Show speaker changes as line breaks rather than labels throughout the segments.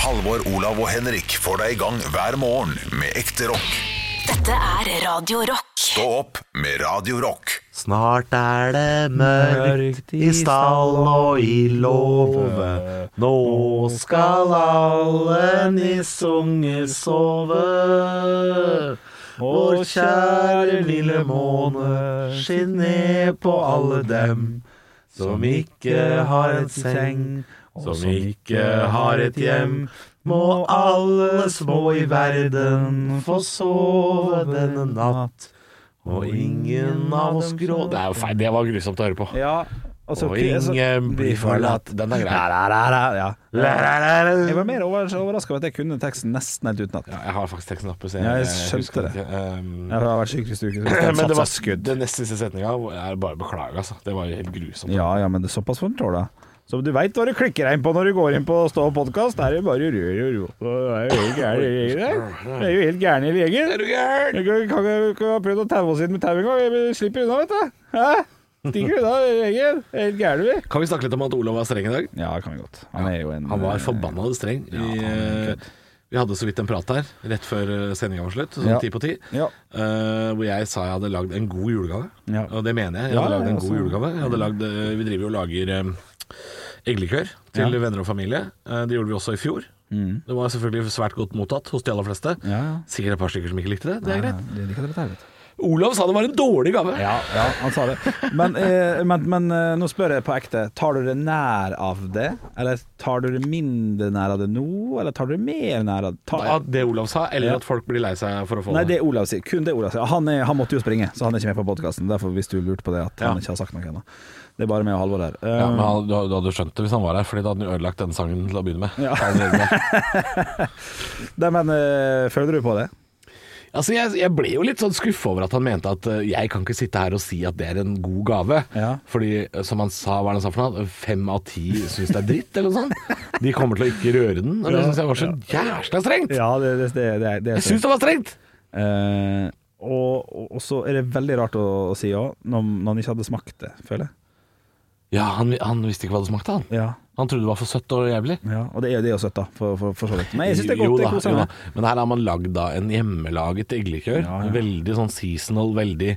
Halvor, Olav og Henrik får deg i gang hver morgen med ekte rock.
Dette er Radio Rock.
Stå opp med Radio Rock.
Snart er det mørkt i stall og i låve. Nå skal alle nissunger sove. Vår kjære lille måne, skinn ned på alle dem som ikke har en seng, som ikke har et hjem. Må alle små i verden få sove denne natt. Og ingen av oss grå Det er jo feil, det var grusomt å høre på.
Ja, altså,
Og
ok, altså,
ingen blir forlatt. Den er grei.
ja. Jeg var mer overraska over at jeg kunne teksten nesten helt utenat.
Ja, jeg har faktisk teksten oppe. Så
Ja, jeg skjønte
husker
det.
ikke. Um,
Jeg har vært syk i uke,
men det var
skudd.
Den nest siste setninga er bare beklage, altså. Det var helt grusomt.
Ja, ja, men det er såpass får en tåle. Så du veit hva du klikker deg inn på når du går inn på Stå og podkast. Er det bare rør og ro. Det er jo helt gærne leger. Det er jo helt gærne leger.
Er du gæren?
Jeg kan kan ikke ha prøvd å taue oss inn med tau engang. Vi slipper unna, vet du. Hæ? Stikker unna leger. Det er Helt gærne, vi.
Kan vi snakke litt om at Olav var streng i dag?
Ja, det kan vi godt. Han er jo en eh,
Han var forbanna streng.
Ja, han
Vi,
er en
eh, vi hadde så vidt en prat her rett før sendinga var slutt,
Ja.
sånn ti på ti.
Ja.
eh, hvor jeg sa jeg hadde lagd en god julegave.
Ja.
Og det mener jeg. Jeg
Ja,
hadde
ja,
lagd en god
altså.
julegave. Jeg hadde lagd, eh, vi driver jo og lager eh, eglikør til
Ja.
venner og familie. Eh, det gjorde vi også i fjor.
Mm.
Det var selvfølgelig svært godt mottatt hos de aller fleste.
Ja, ja.
Sikkert et par stykker som ikke likte det. Det er greit.
Det liker dere der, vet du.
Olav sa det var en dårlig gave.
Ja, ja, han sa det. Men, eh, men, men eh, nå spør jeg på ekte. Tar du det nær av det? Eller tar du det mindre nær av det nå? Eller tar du det mer nær av det? Tar...
At det Olav sa, eller
Ja.
at folk blir lei seg for å få
Nei,
det.
det er Olav sier. Kun det Olav sier. Han, er, han måtte jo springe, så han er ikke med på podkasten. Derfor hvis du lurte på det, at han
Ja.
ikke har sagt noe ennå. Det er bare meg og Halvor her.
Ja,
Eh,
men han- du, du hadde skjønt det hvis han var her, Fordi da hadde han ødelagt denne sangen til å begynne med.
Ja.
Allerede med.
Eh, nei, men eh, føler du på det?
Altså jeg, jeg ble jo litt sånn skuffa over at han mente at eh, jeg kan ikke sitte her og si at det er en god gave.
Ja.
Fordi eh, som han sa, hva er det han sa for noe? Fem av ti syns det er dritt, eller noe sånt. De kommer til å ikke røre den. Og det
Ja,
syns jeg var så jævla strengt.
Ja, det, det, det, det, det
Jeg syns det var strengt!
Eh, og, og- og så er det veldig rart å, å si òg, når, når han ikke hadde smakt det, føler jeg.
Ja, han, han visste ikke hva det smakte, han.
Ja
Han trodde det var for søtt og jævlig.
Ja, og det er jo det også søtt, da, for, for, for så vidt. Men jeg syns det er godt.
Jo
det
da,
er koselig.
jo da. Men her har man lagd da en hjemmelaget eggelikør.
Ja, ja.
Veldig sånn seasonal, veldig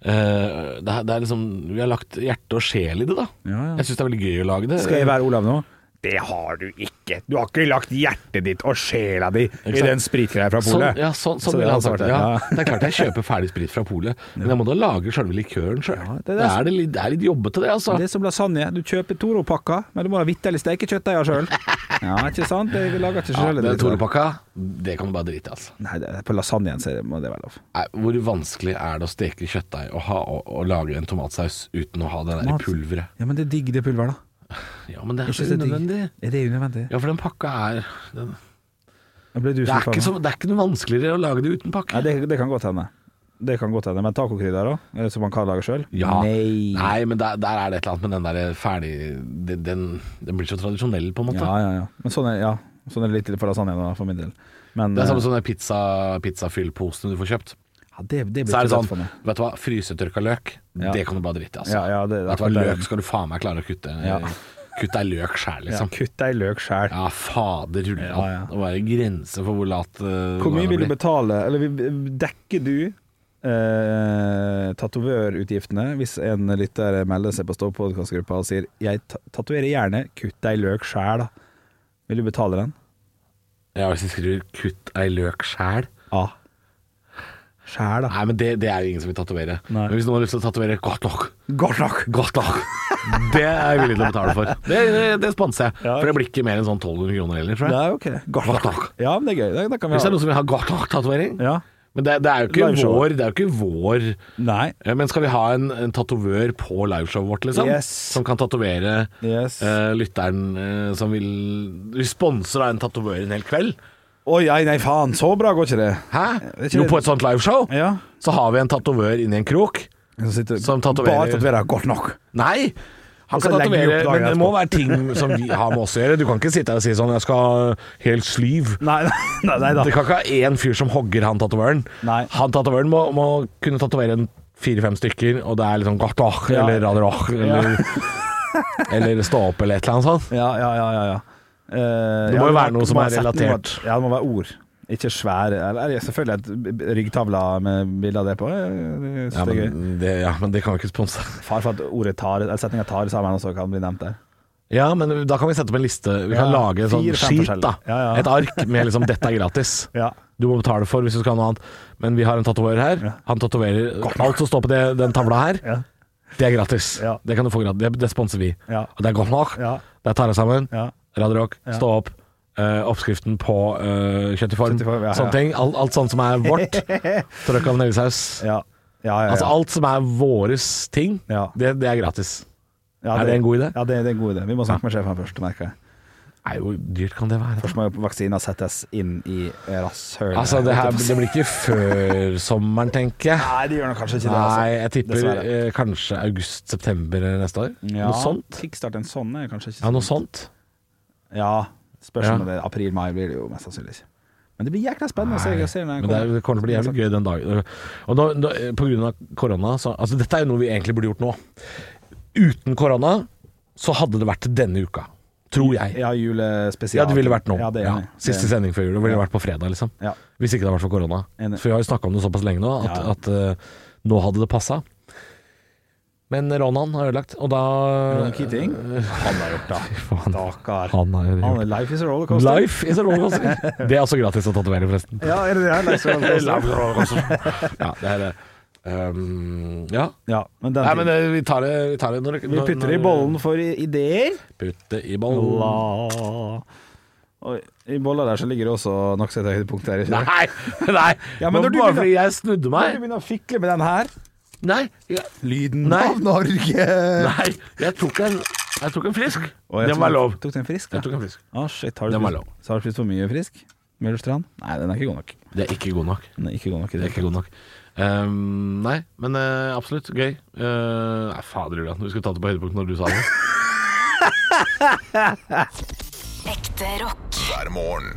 eh, det, er, det er liksom Vi har lagt hjerte og sjel i det, da.
Ja, ja.
Jeg syns det er veldig gøy å lage det.
Skal jeg være Olav nå? Det har du ikke. Du har ikke lagt hjertet ditt og sjela di i
sant?
den spritgreia fra
Sånn,
polet.
ja, sånn,
Så
sånn
det
ville
er
han sagt
svart,
det. Ja.
ja.
Det er klart jeg kjøper ferdig sprit fra polet, men jeg må da lage sjølve likøren sjøl.
Ja, det
det,
er det som-
er det litt- det er litt jobbete, det, altså.
Det er som lasagne. Du kjøper Toro-pakka, men du må ha vitterlig steke kjøttdeiga sjøl. Ja, ikke sant? Jeg lager ikke
Ja,
sjøl.
den Toro-pakka, det kan du bare drite i, altså.
Nei, det er på lasagnen så må det være lov.
Nei, Hvor vanskelig er det å steke kjøttdeig og, ha, og, og lage en tomatsaus uten å ha det der
Tomat.
i pulveret?
Ja, men det er digg, det pulveret, da.
Ja, men det er
Jeg
så
synes det er digg.
unødvendig.
Er det unødvendig?
Ja, for den pakka er den,
Da ble du
det, er
skuffa
ikke
nå.
så, det er ikke noe vanskeligere å lage det uten
Nei,
pakke.
det, det kan godt hende. Det kan godt hende. Men tacokrydder òg, som man kan lage sjøl?
Ja.
Nei.
Nei, men der, der er det et eller annet med den der ferdig den, den, den blir så tradisjonell, på en måte.
Ja, ja, ja. Men sånn er, ja. sånn er det litt for lasagnen da, for min del. Men,
Det er samme
eh,
som den pizza, pizzafyllposene du får kjøpt.
ja, det, det blir
Så er det
ikke lett
sånn,
for meg.
vet du hva, frysetørka løk,
Ja.
det kan du bare drite i, altså.
Ja, ja, det-
vet du hva,
det-
løk skal du faen meg klare å kutte.
Ja.
Kutt deg løk
Ja,
sjæl, liksom. Ja.
kutt deg løk sjæl.
fader rulle
Ja, ja.
Det var en grense for hvor lat eh,
Hvor mye
det
vil du
blir.
betale, eller vil- dekker du eh, tatovørutgiftene hvis en lytter melder seg på Stå podkastgruppa og sier 'jeg ta- tatoverer gjerne, kutt deg løk sjæl', da. Vil du betale den?
Ja, hvis jeg skriver 'kutt ei løk sjæl'
Ja. Sjæl, da.
Nei, men det, det er jo ingen som vil tatovere.
Nei.
Men hvis noen har lyst til å tatovere 'godt nok',
Godt nok!
godt nok det er jeg villig til å betale for. Det, det, det sponser jeg.
Ja.
For det blir ikke mer enn sånn 1200 kroner heller, tror
Det
jeg.
er ok. Godt
Godt
nok.
nok.
Ja, men det er gøy. Da, da kan vi
Hvis det
ha
er noen som vil ha 'godt nok'-tatovering
ja.
Men det, det er jo ikke
Liveshowet.
vår, det er jo ikke vår
Nei.
Ja, Men skal vi ha en, en tatovør på liveshowet vårt, liksom?
Yes.
Som kan tatovere
Yes.
eh, lytteren eh, som vil Vi sponser da en tatovør en hel kveld.
Å nei, nei, faen. Så bra går ikke det.
Hæ?
Det er ikke
Jo,
det-
på et sånt liveshow
Ja.
så har vi en tatovør inni en krok.
Så sitter
Som tatoverer-
Bare tatoverer godt nok.
Nei! Han
Og så
kan
legger vi
tatovere,
opp dagen
men det må være ting som vi har med oss å gjøre. Du kan ikke sitte her og si sånn 'jeg skal ha helt sliv'.
Nei, nei, nei, nei da.
Det kan ikke ha én fyr som hogger han tatovøren.
Nei.
Han tatovøren må, må kunne tatovere en fire-fem stykker, og det er liksom Gartach
Ja.
eller Radarach eller, eller Stå opp eller et eller annet sånt.
Ja, ja, ja, ja, ja. det
må jo være noe som er relatert.
Ja, det må være ord. Ikke svære Eller selvfølgelig et ryggtavle med bilde av det på. eh, Det synes
Ja
jeg er gøy.
men, det, ja, men det kan vi ikke sponse.
Far for at ordet tar, eller setninga tar sammen også kan bli nevnt der.
Ja, men da kan vi sette opp en liste. Vi kan
Ja,
lage en sånn
fire, fem
skit,
forskjellige.
da.
Ja, ja.
Et ark med liksom 'dette er gratis'.
Ja.
Du må betale for hvis du skal ha noe annet. Men vi har en tatoverer her. Han tatoverer alt som står på det, den tavla her.
Ja.
Det er gratis.
Ja.
Det kan du få gratis. Det, det sponser vi.
Ja.
Og det er godt nok.
Ja.
Det tar jeg sammen.
Ja.
Radio Rock, stå opp. Eh, oppskriften på uh, kjøtt i form.
Kjøtt i form, ja, ja.
Sånne ting. Alt, alt sånt som er vårt. Trøkk av neglesaus.
Ja. Ja, ja, ja.
Altså alt som er våres ting,
Ja.
det, det er gratis.
ja,
er det en god idé?
Ja, det, det er en god idé. Vi må snakke med sjefen først, merker jeg.
Nei, hvor dyrt kan det være?
Først må jo vaksina settes inn i rasshølet.
Altså, det, her, det blir ikke før sommeren, tenker jeg.
Nei, det gjør nok kanskje ikke det. altså.
Nei, jeg tipper
Dessverre.
eh, kanskje august-september neste år.
Ja,
Noe sånt.
Kickstart en sånn er kanskje ikke
Ja, noe sånt.
Ja, spørs om
Ja.
det er april-mai blir det jo mest sannsynlig ikke. Men det blir jækla spennende å se.
Nei,
Jeg ser når jeg
Men det er- det kommer til å bli jævlig gøy den dagen. Og da, da, på grunn av korona så, Altså, dette er jo noe vi egentlig burde gjort nå. Uten korona så hadde det vært denne uka. Tror jeg.
Ja, julespesial.
Ja, det ville vært nå.
Ja, det er
Ja,
enig.
Siste
Det er enig.
sending før jul. Det ville vært på fredag, liksom.
Ja.
Hvis ikke det hadde vært for korona.
Enig.
For vi har jo snakka om det såpass lenge nå at,
Ja.
at eh, nå hadde det passa. Men Ronan har ødelagt, og da
Ronan Keating? Han har gjort det.
Faen,
Stakkar.
Eh, han har
Han
gjort
er life is a rollercoaster.
Life is a rollercoaster. Det er også gratis å tatovere, forresten.
Ja, er det det? Life is a rollercoaster.
ja, det er det. Um, ja.
Ja, men den
Nei, men
tiden.
eh, vi tar det, vi tar det når,
Vi
når-
putter i
når-
bollen for i- ideer.
Putte i bollen.
La. Og I bolla der så ligger det også nokså et høydepunkt der. Ikke?
Nei! nei.
Ja, men
Det var
når du
bare
begynner-
fordi jeg snudde
Når du
meg.
begynner å fikle med den her
Nei. Jeg,
Lyden
Nei.
av Norge!
nei. jeg tok en Jeg tok en frisk.
Å, jeg
Den
tok-
var lov.
Tok du en frisk?
Jeg tok en frisk.
Ah, shit, har du,
Den var
spist,
lov.
så har du spist for mye frisk? Møllerstrand? Nei, den er ikke god nok.
Det er ikke god nok.
Den er ikke god nok i
Det
det
er ikke
hele tatt.
god nok. Um, nei, men eh, absolutt gøy. Eh, nei, fader Julian, vi skulle tatt det på høydepunkt når du sa det.
Ekte rock.
hver morgen.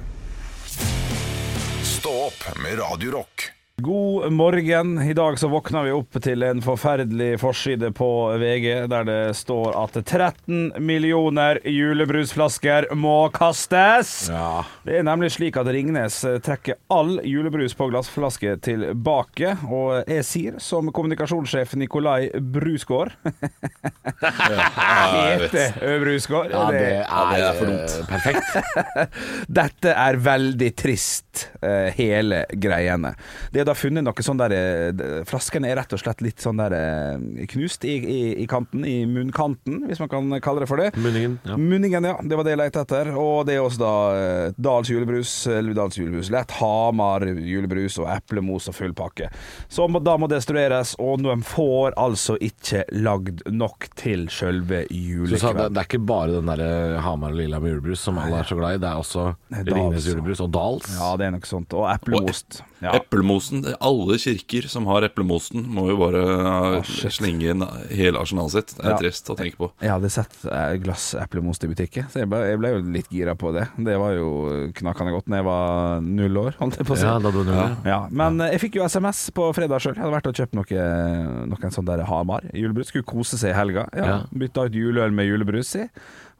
Stå opp med Radio Rock.
God morgen. I dag så våkna vi opp til en forferdelig forside på VG, der det står at 13 millioner julebrusflasker må kastes.
Ja.
Det er nemlig slik at Ringnes eh, trekker all julebrus på glassflaske tilbake, og jeg sier som kommunikasjonssjef Nikolai Brusgaard Hete Brusgaard.
Ja, det
det-
er, for dumt. Perfekt.
Dette er veldig trist, eh, hele greiene. Det er da funnet noe sånn der eh, d- Flaskene er rett og slett litt sånn der eh, knust i, i, i kanten, i munnkanten, hvis man kan kalle det for det.
Munningen. Ja.
Munningen, ja. Det var det jeg lette etter. Og det er også da eh, Dals julebrus, eller Dals julebrus lett, Hamar julebrus og eplemos og full pakke. Så må, da må destrueres, og de får altså ikke lagd nok til sjølve
Du sa, det,
julekvelden.
det er ikke bare den der eh, Hamar og Lilla med julebrus som alle er så glad i. Det er også
Dals.
Ringnes julebrus og Dals.
Ja, det er noe sånt. Og eplemost. Ja.
Eplemosen. Alle kirker som har eplemosen, må jo bare eh,
shit.
slenge inn hele arsenalet sitt. Det er
Ja.
trist å tenke på.
Jeg hadde sett eh, glass eplemost i butikken, så jeg ble, jeg ble jo litt gira på det. Det var jo knakende godt når jeg var null år, holdt jeg på å si.
Ja, da du null. Ja.
Ja, men eh, jeg fikk jo SMS på fredag sjøl. Jeg hadde vært og kjøpt noe, noen sånn der Hamar julebrus. Skulle kose seg i helga. Ja,
Ja.
Bytta ut juleøl med julebrus i.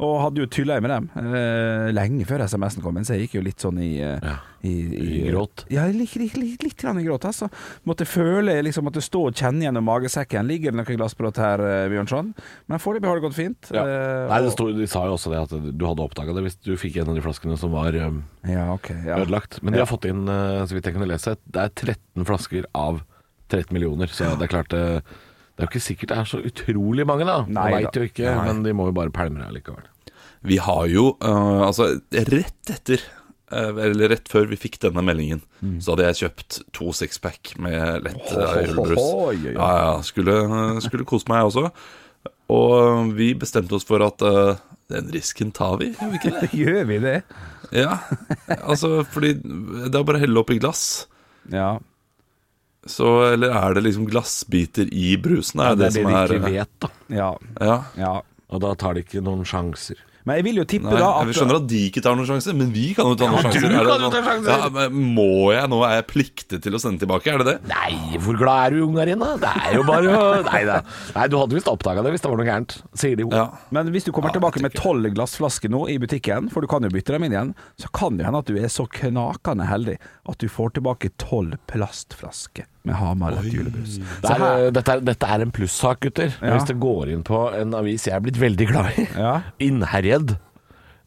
Og hadde jo tulla med dem eh, lenge før SMS-en kom, men så jeg gikk jo litt sånn i, eh,
Ja.
i,
I gråt.
Ja, litt, litt, litt, litt grann i gråt. Altså. Måtte føle liksom måtte stå og kjenne gjennom magesekken. Ligger det noe glassbrott her, eh, Bjørnson? Men foreløpig har det gått fint. Eh,
Nei,
og-
det sto, De sa jo også det at du hadde oppdaga det hvis du fikk en av de flaskene som var um,
ja, ok, ja.
ødelagt. Men de har fått inn, uh, så vidt jeg kunne lese, det er 13 flasker av 13 millioner. Så det er klart det, det er jo ikke sikkert det er så utrolig mange, da.
Nei
Man veit
da.
jo ikke, men de må jo bare pælme det likevel.
Vi har jo, eh, altså rett etter eh, eller rett før vi fikk denne meldingen,
Mm.
så hadde jeg kjøpt to sixpack med lett eh, julebrus.
Oi, oi, oi.
Ja, ja, skulle, skulle kose meg også. Og vi bestemte oss for at eh, den risken tar vi, gjør vi ikke det?
Gjør vi det?
Ja, altså fordi det er bare å helle opp i glass.
Ja.
Så, eller er det liksom glassbiter i brusen? Er
Det er det
som
de
er
ikke vet, da.
Ja.
Ja.
ja.
Og da tar de ikke noen sjanser.
Men jeg vil jo tippe
Nei,
da
Vi
at
skjønner at de ikke tar noen sjanser, men vi kan jo ta noen sjanser.
du
Er det
kan jo ta
sånn-
sjanser.
Ja, men må jeg? Nå er jeg pliktet til å sende tilbake, er det det?
Nei, hvor glad er du i ungen her inne? Det er jo bare å- Nei, det er- nei du hadde visst oppdaga det hvis det var noe gærent, sier de jo.
Ja.
Men hvis du kommer tilbake med tolv glass flaske nå i butikken, for du kan jo bytte dem inn igjen, så kan det hende at du er så knakende heldig at du får tilbake tolv plastflasker med Hamar et julebrus.
Det
Så her,
er, eh, dette, er, dette er en plussak, gutter.
Ja.
Hvis det går inn på en avis jeg er blitt veldig glad i,
Ja.
Innherred.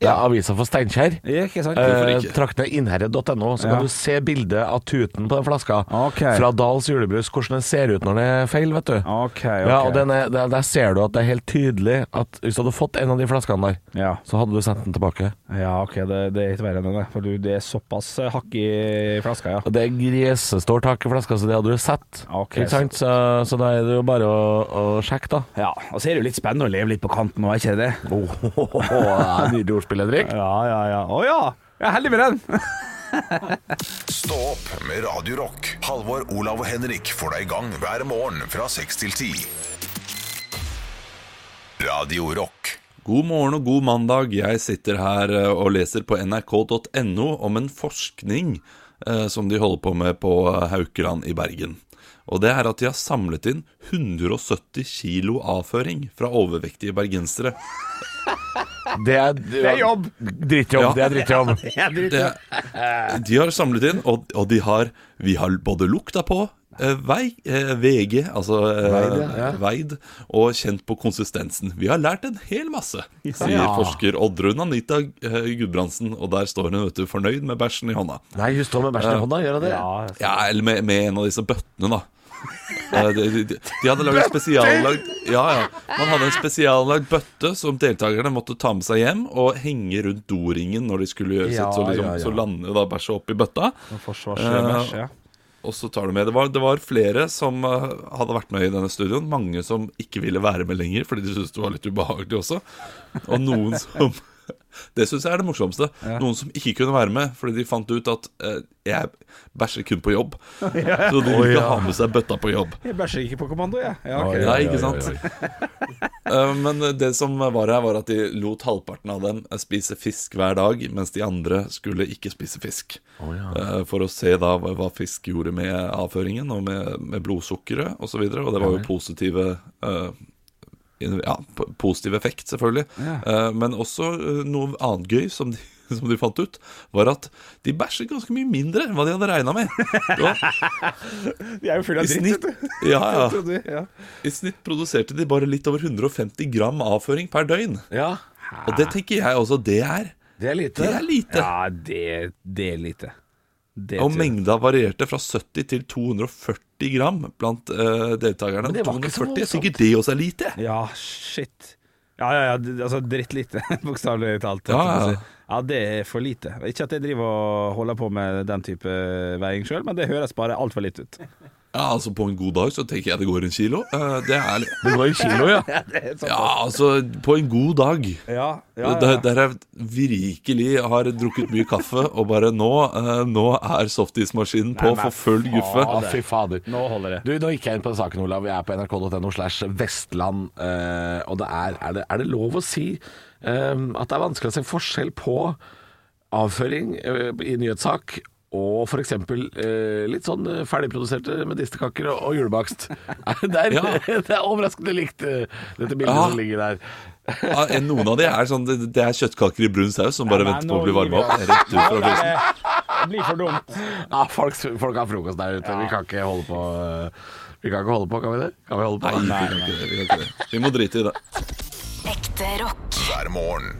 Det er avisa for Steinkjer.
Ja, ikke sant?
Eh,
ikke?
Trakk ned innherred.no, så
Ja.
kan du se bildet av tuten på den flaska.
Ok.
Fra Dals julebrus, hvordan den ser ut når den er feil, vet du.
Ok, ok.
Ja, og den er, der, der ser du at det er helt tydelig at hvis du hadde fått en av de flaskene der,
ja.
så hadde du sendt den tilbake.
ja, ok, det, det er ikke verre enn det. For du, det er såpass eh, hakk i flaska, ja.
Og det er gresestort tak i flaska, så det hadde du sett.
Ok.
Ikke sant? Så, så da er det jo bare å, å sjekke, da.
Ja, og så er det jo litt spennende å leve litt på kanten nå, er ikke det det?
Nydelig ordspill, Henrik.
Ja, ja, ja. Å ja! Jeg er heldig med den!
Stå opp med Radio Rock. Halvor, Olav og Henrik får deg i gang hver morgen fra 6 til 10. Radio Rock.
God morgen og god mandag. Jeg sitter her eh, og leser på nrk.no om en forskning eh, som de holder på med på eh, Haukeland i Bergen. Og det er at de har samlet inn 170 kilo avføring fra overvektige bergensere.
Det er,
jobb.
Drittjobb.
Ja.
Det er drittjobb.
Det, de har samlet inn, og, og de har Vi har både lukta på eh, vei, eh, VG, altså eh, veid, og kjent på konsistensen. Vi har lært en hel masse, sier forsker Oddrun Anita eh, Gudbrandsen. Og der står hun vet du, fornøyd med bæsjen i hånda.
Nei, hun står med bæsjen i hånda, gjør hun det?
Ja, eller med, med en av disse bøttene, da. Eh, De, de, de hadde laget spesiallagd Ja, ja. Man hadde en spesiallagd bøtte som deltakerne måtte ta med seg hjem og henge rundt doringen når de skulle gjøre
Ja,
sitt. Så, liksom,
ja, ja. Mm.
så lander jo da bæsjet oppi bøtta.
Forsvarsbæsj, ja.
Og så tar du med Det var, det var flere som eh, hadde vært med i denne studioen. Mange som ikke ville være med lenger fordi de syntes det var litt ubehagelig også. Og noen som Det syns jeg er det morsomste. Noen som ikke kunne være med fordi de fant ut at eh, jeg bæsjer kun på jobb. Så de vil ikke ha med seg bøtta på jobb.
Jeg bæsjer ikke på kommando, jeg. Ja,
Oi,
ok.
Nei,
oi,
ikke
oi,
sant? Eh, Men det som var her, var at de lot halvparten av dem spise fisk hver dag, mens de andre skulle ikke spise fisk. Eh, For å se da hva hva fisk gjorde med avføringen og med, med blodsukkeret osv. Og, så videre, og det var jo positive eh, in- ja, po- positiv effekt, selvfølgelig. Eh, Men også eh, noe annet gøy som de som de fant ut, var at de bæsjer ganske mye mindre enn hva de hadde regna med. Det var,
De er jo fulle
i,
av dritt,
snitt,
vet du.
ja, ja.
Tror du, ja.
I snitt produserte de bare litt over 150 gram avføring per døgn.
Ja.
Og det tenker jeg også det er.
Det er
Det
lite.
er lite.
Ja, det, det er lite. Det
Og
tror jeg.
mengda varierte fra 70 til 240 gram blant eh, deltakerne.
det var ikke så
240 er
voldsomt.
sikkert det også er lite.
Ja, shit. Ja, ja, ja, d- altså dritt lite, bokstavelig talt.
Ja,
holdt jeg på å
ja.
si. ja, det er for lite. Ikke at jeg driver og holder på med den type veiing sjøl, men det høres bare altfor lite ut.
Ja, altså På en god dag så tenker jeg det går en kilo. Eh, det er litt
Det går i kilo, ja.
Ja, altså på en god dag.
Ja, ja, ja.
Der, der jeg virkelig har drukket mye kaffe og bare nå eh, Nå er softismaskinen på for full guffe.
Å, fy fader.
Nå holder det.
Du, Nå gikk jeg inn på den saken, Olav. Jeg er på nrk.no slash Vestland. eh, og det er er det, er det lov å si eh, at det er vanskelig å se forskjell på avføring eh, i nyhetssak og f.eks. Uh, litt sånn eh, ferdigproduserte medisterkaker og, og julebakst? det, er,
Ja.
det er overraskende likt, eh, dette bildet
Ja.
som ligger der.
Ja, en- noen av de er sånn Det, det er kjøttkaker i brun saus som bare
Nei, nei,
venter på
nå
å bli varma
gir vi
opp. Rett ut fra frysen.
Det blir for dumt.
Ja, folk, folk har frokost der ute. Vi kan ikke holde på, eh, vi kan ikke holde på, kan vi det? Kan vi holde på?
Nei, vi kan ikke det, vi kan ikke det. Vi må drite i det.
Ekte rock.
hver morgen.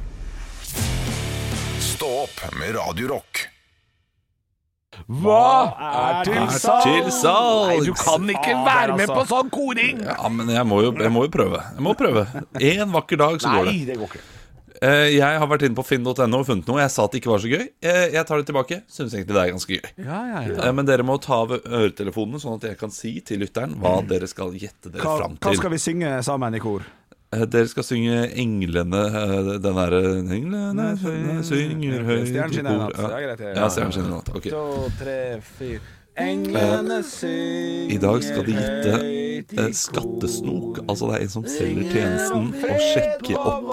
Stå opp med Radio Rock.
eh,
Hva er til salgs?
Til salgs!
Nei, du kan ikke være
altså.
med på sånn koring!
Ja, men jeg må jo, jeg må jo prøve. Jeg må prøve. En vakker dag så går det.
det går ikke.
Eh, Jeg har vært inne på finn.no og funnet noe. Jeg sa at det ikke var så gøy. Eh, Jeg tar det tilbake. Syns egentlig det er ganske gøy. Eh, Men dere må ta av øretelefonene, sånn at jeg kan si til lytteren hva dere skal gjette dere
Mm. Hva,
fram
hva
til.
skal vi synge sammen i kor?
Eh, Dere skal synge 'Englene' eh, Den derre 'Englene synger høyt i
Stjernen skinner i natt.
kor'.
Ja,
Ja,
greit, ja, ja.
ja stjernen skinner i natt. Ok. Eh,
To, tre, fire. Englene synger
I dag skal de
høyt i
gjette eh,
kor.
skattesnok. Altså det er en som selger tjenesten å sjekke opp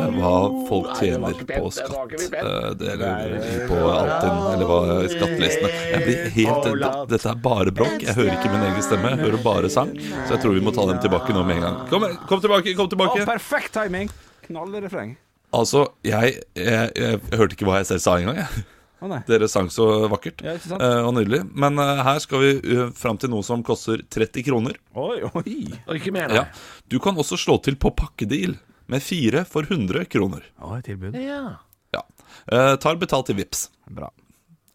eh, hva folk tjener på skatt. Eh, Det lurer vi på Altinn, eller hva eh, skattelistene Jeg blir helt d- Dette er bare bråk. Jeg hører ikke min egen stemme, jeg hører bare sang. Så jeg tror vi må ta dem tilbake nå med en gang. Kom, kom tilbake, kom
Å,
tilbake!
perfekt timing! Knallrefreng.
Altså, jeg, jeg, jeg hørte ikke hva jeg selv sa engang, jeg.
Å nei.
Dere sang så vakkert
Ja, ikke sant?
eh, og nydelig. Men eh, her skal vi eh, fram til noe som koster 30 kroner.
Oi, oi.
Og ikke mer,
Ja.
nei.
Du kan også slå til på pakkedeal med fire for 100 kroner.
Å, et tilbud.
Ja.
Ja. Eh, tar betalt i VIPS
Bra.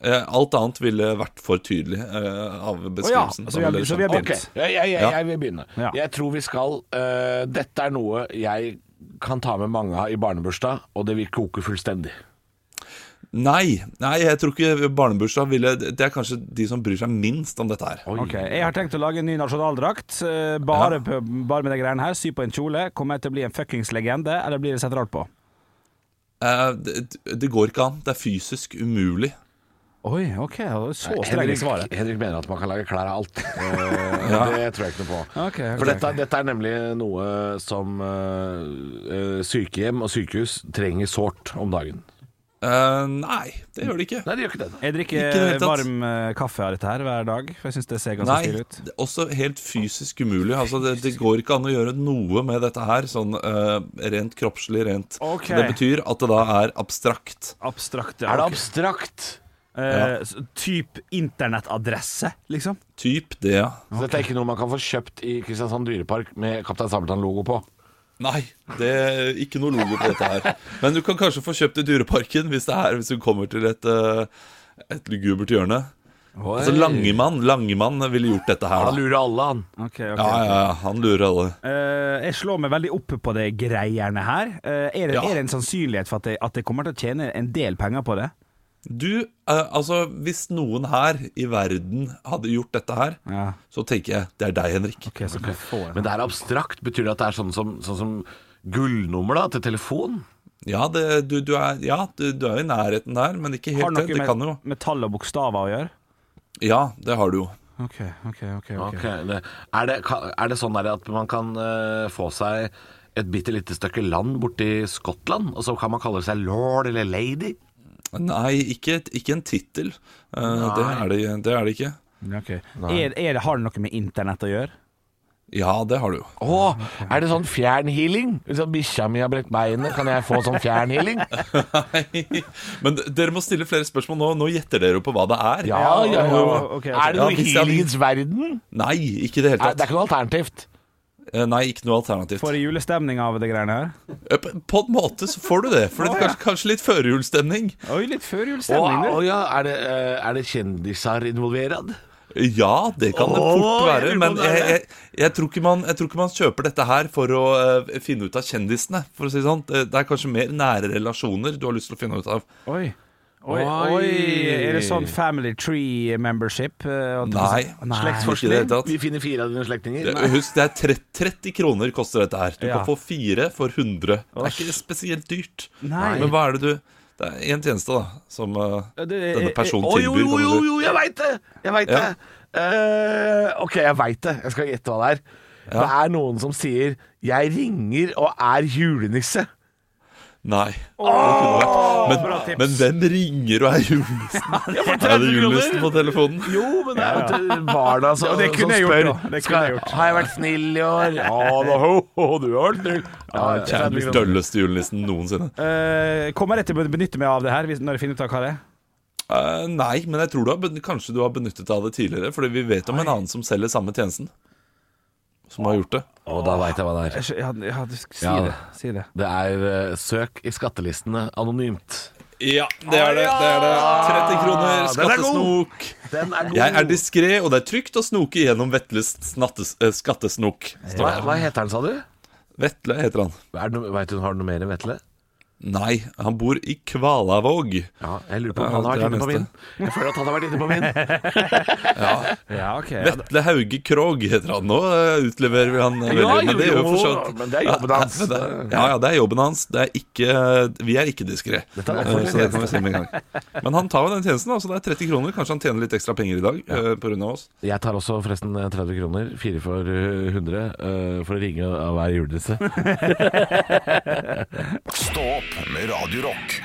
Eh, alt annet ville vært for tydelig eh, av
Å ja,
beskrivelsen.
så vi har-
Da ville
så vi har
skjønt.
begynt.
Ok, jeg, jeg, jeg,
Ja.
jeg vil begynne.
Ja.
Jeg tror vi skal øh, Dette er noe jeg kan ta med mange av i barnebursdag, og det vil koke fullstendig.
Nei, nei, jeg tror ikke barnebursdag ville Det er kanskje de som bryr seg minst om dette her.
Ok, Jeg har tenkt å lage en ny nasjonaldrakt. eh, Bare, på- bare med de greiene her. Sy på en kjole. Kommer jeg til å bli en fuckings legende, eller blir det sett rart på?
Eh, det, det går ikke an. Det er fysisk umulig.
Oi, ok. det var Så streng i
Henrik,
svaret.
Henrik mener at man kan lage klær av alt. Øh, Det tror jeg ikke noe på.
Ok, ok,
For dette,
ok.
dette er nemlig noe som øh, øh, sykehjem og sykehus trenger sårt om dagen.
Eh, nei, det gjør det ikke.
Nei, de gjør ikke det.
Jeg
Ikke i
drikker
det hele tatt.
varm eh, kaffe av dette her hver dag, for jeg syns det ser ganske
Nei,
stilig ut.
det er også helt fysisk umulig. Altså, det, det går ikke an å gjøre noe med dette her, sånn eh, rent kroppslig, rent.
Ok.
Så det betyr at det da er abstrakt.
Abstrakt.
Er det
ok.
abstrakt?
Eh, s- typ internettadresse, liksom?
Typ det, ja.
Så dette er ikke noe man kan få kjøpt i Kristiansand dyrepark med Kaptein Sabeltann-logo på.
Nei, det er ikke noe logo på dette her. Men du kan kanskje få kjøpt i Dyreparken hvis, det er, hvis du kommer til et, eh, et lugubert hjørne. Altså Langemann Langemann ville gjort dette her,
Han
da.
lurer alle, han.
Ok, ok.
Ja, ja, ja, han lurer alle.
Eh, jeg slår meg veldig opp på det greiene her. Eh, er, det,
Ja.
er det en sannsynlighet for at jeg, at jeg kommer til å tjene en del penger på det?
Du, eh, altså Hvis noen her i verden hadde gjort dette her,
Ja.
så tenker jeg det er deg, Henrik.
Ok, så kan jeg få en
Men det er abstrakt. Betyr det at det er sånn som, sånn som gullnummer da, til telefon?
Ja, det, du, du er, ja du, du er i nærheten der, men ikke
Har
helt.
noe
Det, det kan jo.
med, med tall og bokstaver å gjøre?
Ja, det har du jo.
Ok, ok, ok, ok.
Ok, det- Er, det, ka- er det sånn der at man kan eh, få seg et bitte lite stykke land borti Skottland, og så kan man kalle seg lord eller lady?
Nei, ikke, ikke en tittel. Eh, det, er det, det er det ikke.
Ok. Er, er det, har det noe med internett å gjøre?
Ja, det har du jo.
Å, er det sånn fjernhealing? Sånn bikkja mi har brekt beinet, kan jeg få sånn fjernhealing?
Nei. Men d- dere må stille flere spørsmål nå. Nå gjetter dere jo på hva det er.
Ja, ja, ja.
ok, ok.
Er det noe
Ja,
i
hvis jeg hadde-
healingens verden?
Nei, ikke i det hele
Er, det
tatt.
er ikke noe alternativt.
Eh, Nei, ikke noe alternativt.
Får jeg julestemning av det greiene her?
Eh, På på en måte så får du det. For det er kanskje, kanskje litt førjulsstemning.
Oi, litt før
Å,
julestemning,
å ja, er det, eh, er det kjendiser involverad?
Ja, det kan det
Åh,
fort
jeg
være.
lurer på om
Men
det er
jeg, jeg,
det.
jeg, tror ikke man, jeg tror ikke man kjøper dette her for å eh, finne ut av kjendisene. For å si det sånn. Det det er kanskje mer nære relasjoner du har lyst til å finne ut av.
Oi. Oi,
Oi.
oi, er det sånn family tree membership? eh, at-
Nei, ikke i det
Slektsforskning?
hele tatt.
Vi finner fire av dine slektninger.
Det- Eh, Husk, det er tre- 30 kroner koster dette her. Du
Ja.
kan få fire for 100. Det er ikke spesielt dyrt.
Nei.
Men hva er det du Det er én tjeneste, da, som eh,
Ja, det er-
denne personen
Å, jo,
tilbyr.
jo,
kan
jo,
du si.
jo, jeg veit det! Jeg veit
Ja.
det. Eh, ok, jeg veit det. Jeg skal gjette hva det er. Det er noen som sier 'jeg ringer og er julenisse'.
Nei. det kunne vært.
bra tips.
men, men hvem ringer og er julenissen? Er det julenissen på telefonen?
Jo, men det er jo til barna som,
Ja, det kunne
som
jeg gjort,
spør
da. Det kunne
skal,
jeg gjort.
Har jeg vært snill i år? Ja da, ho, ho, du har vært snill. Ja,
Kjære, den dølleste julenissen noensinne.
Eh, kommer jeg til å benytte meg av det her hvis- når jeg finner ut av hva det er?
Eh, nei, men jeg tror du har, ben- kanskje du har benyttet deg av det tidligere. Fordi vi vet om en annen som selger samme tjenesten. Som har gjort det.
Å, da veit jeg hva det er.
Jeg skj- Ja, ja, du- si,
Ja.
det. si det.
Det er eh, søk i skattelistene anonymt.
Ja, det er det. det, er det. 30 kroner,
Den er god.
skattesnok.
Den er god.
Jeg er diskré, og det er trygt å snoke gjennom Vetles snattes, eh, skattesnok.
hva, hva heter den, sa du?
Vetle heter han.
Er det noe- Vet du, har du noe mer enn Vetle?
Nei, han bor i Kvalavåg.
Ja, jeg lurer på om
Ja,
han har
det er
vært inne på
neste.
min. Jeg føler at han har vært inne på min.
Ja, ok.
Vetle Hauge Krogh heter han nå. eh, Utleverer vi han eh, veldig.
Ja,
men det
jo,
gjør jo for så
jo,
vidt-
men det er jobben
Ja,
hans.
men det er- Ja, ja, det er jobben hans. Det er ikke, vi er ikke diskré. Eh, Så
Dette er offentlig
det kan vi si med en gang. Men han tar jo den tjenesten, da, så det er 30 kroner. Kanskje han tjener litt ekstra penger i dag eh, på grunn av oss.
Jeg tar også forresten 30 kroner, fire for eh, 100, eh, for å ringe av hver julenisse.
Stå opp med Radio Rock.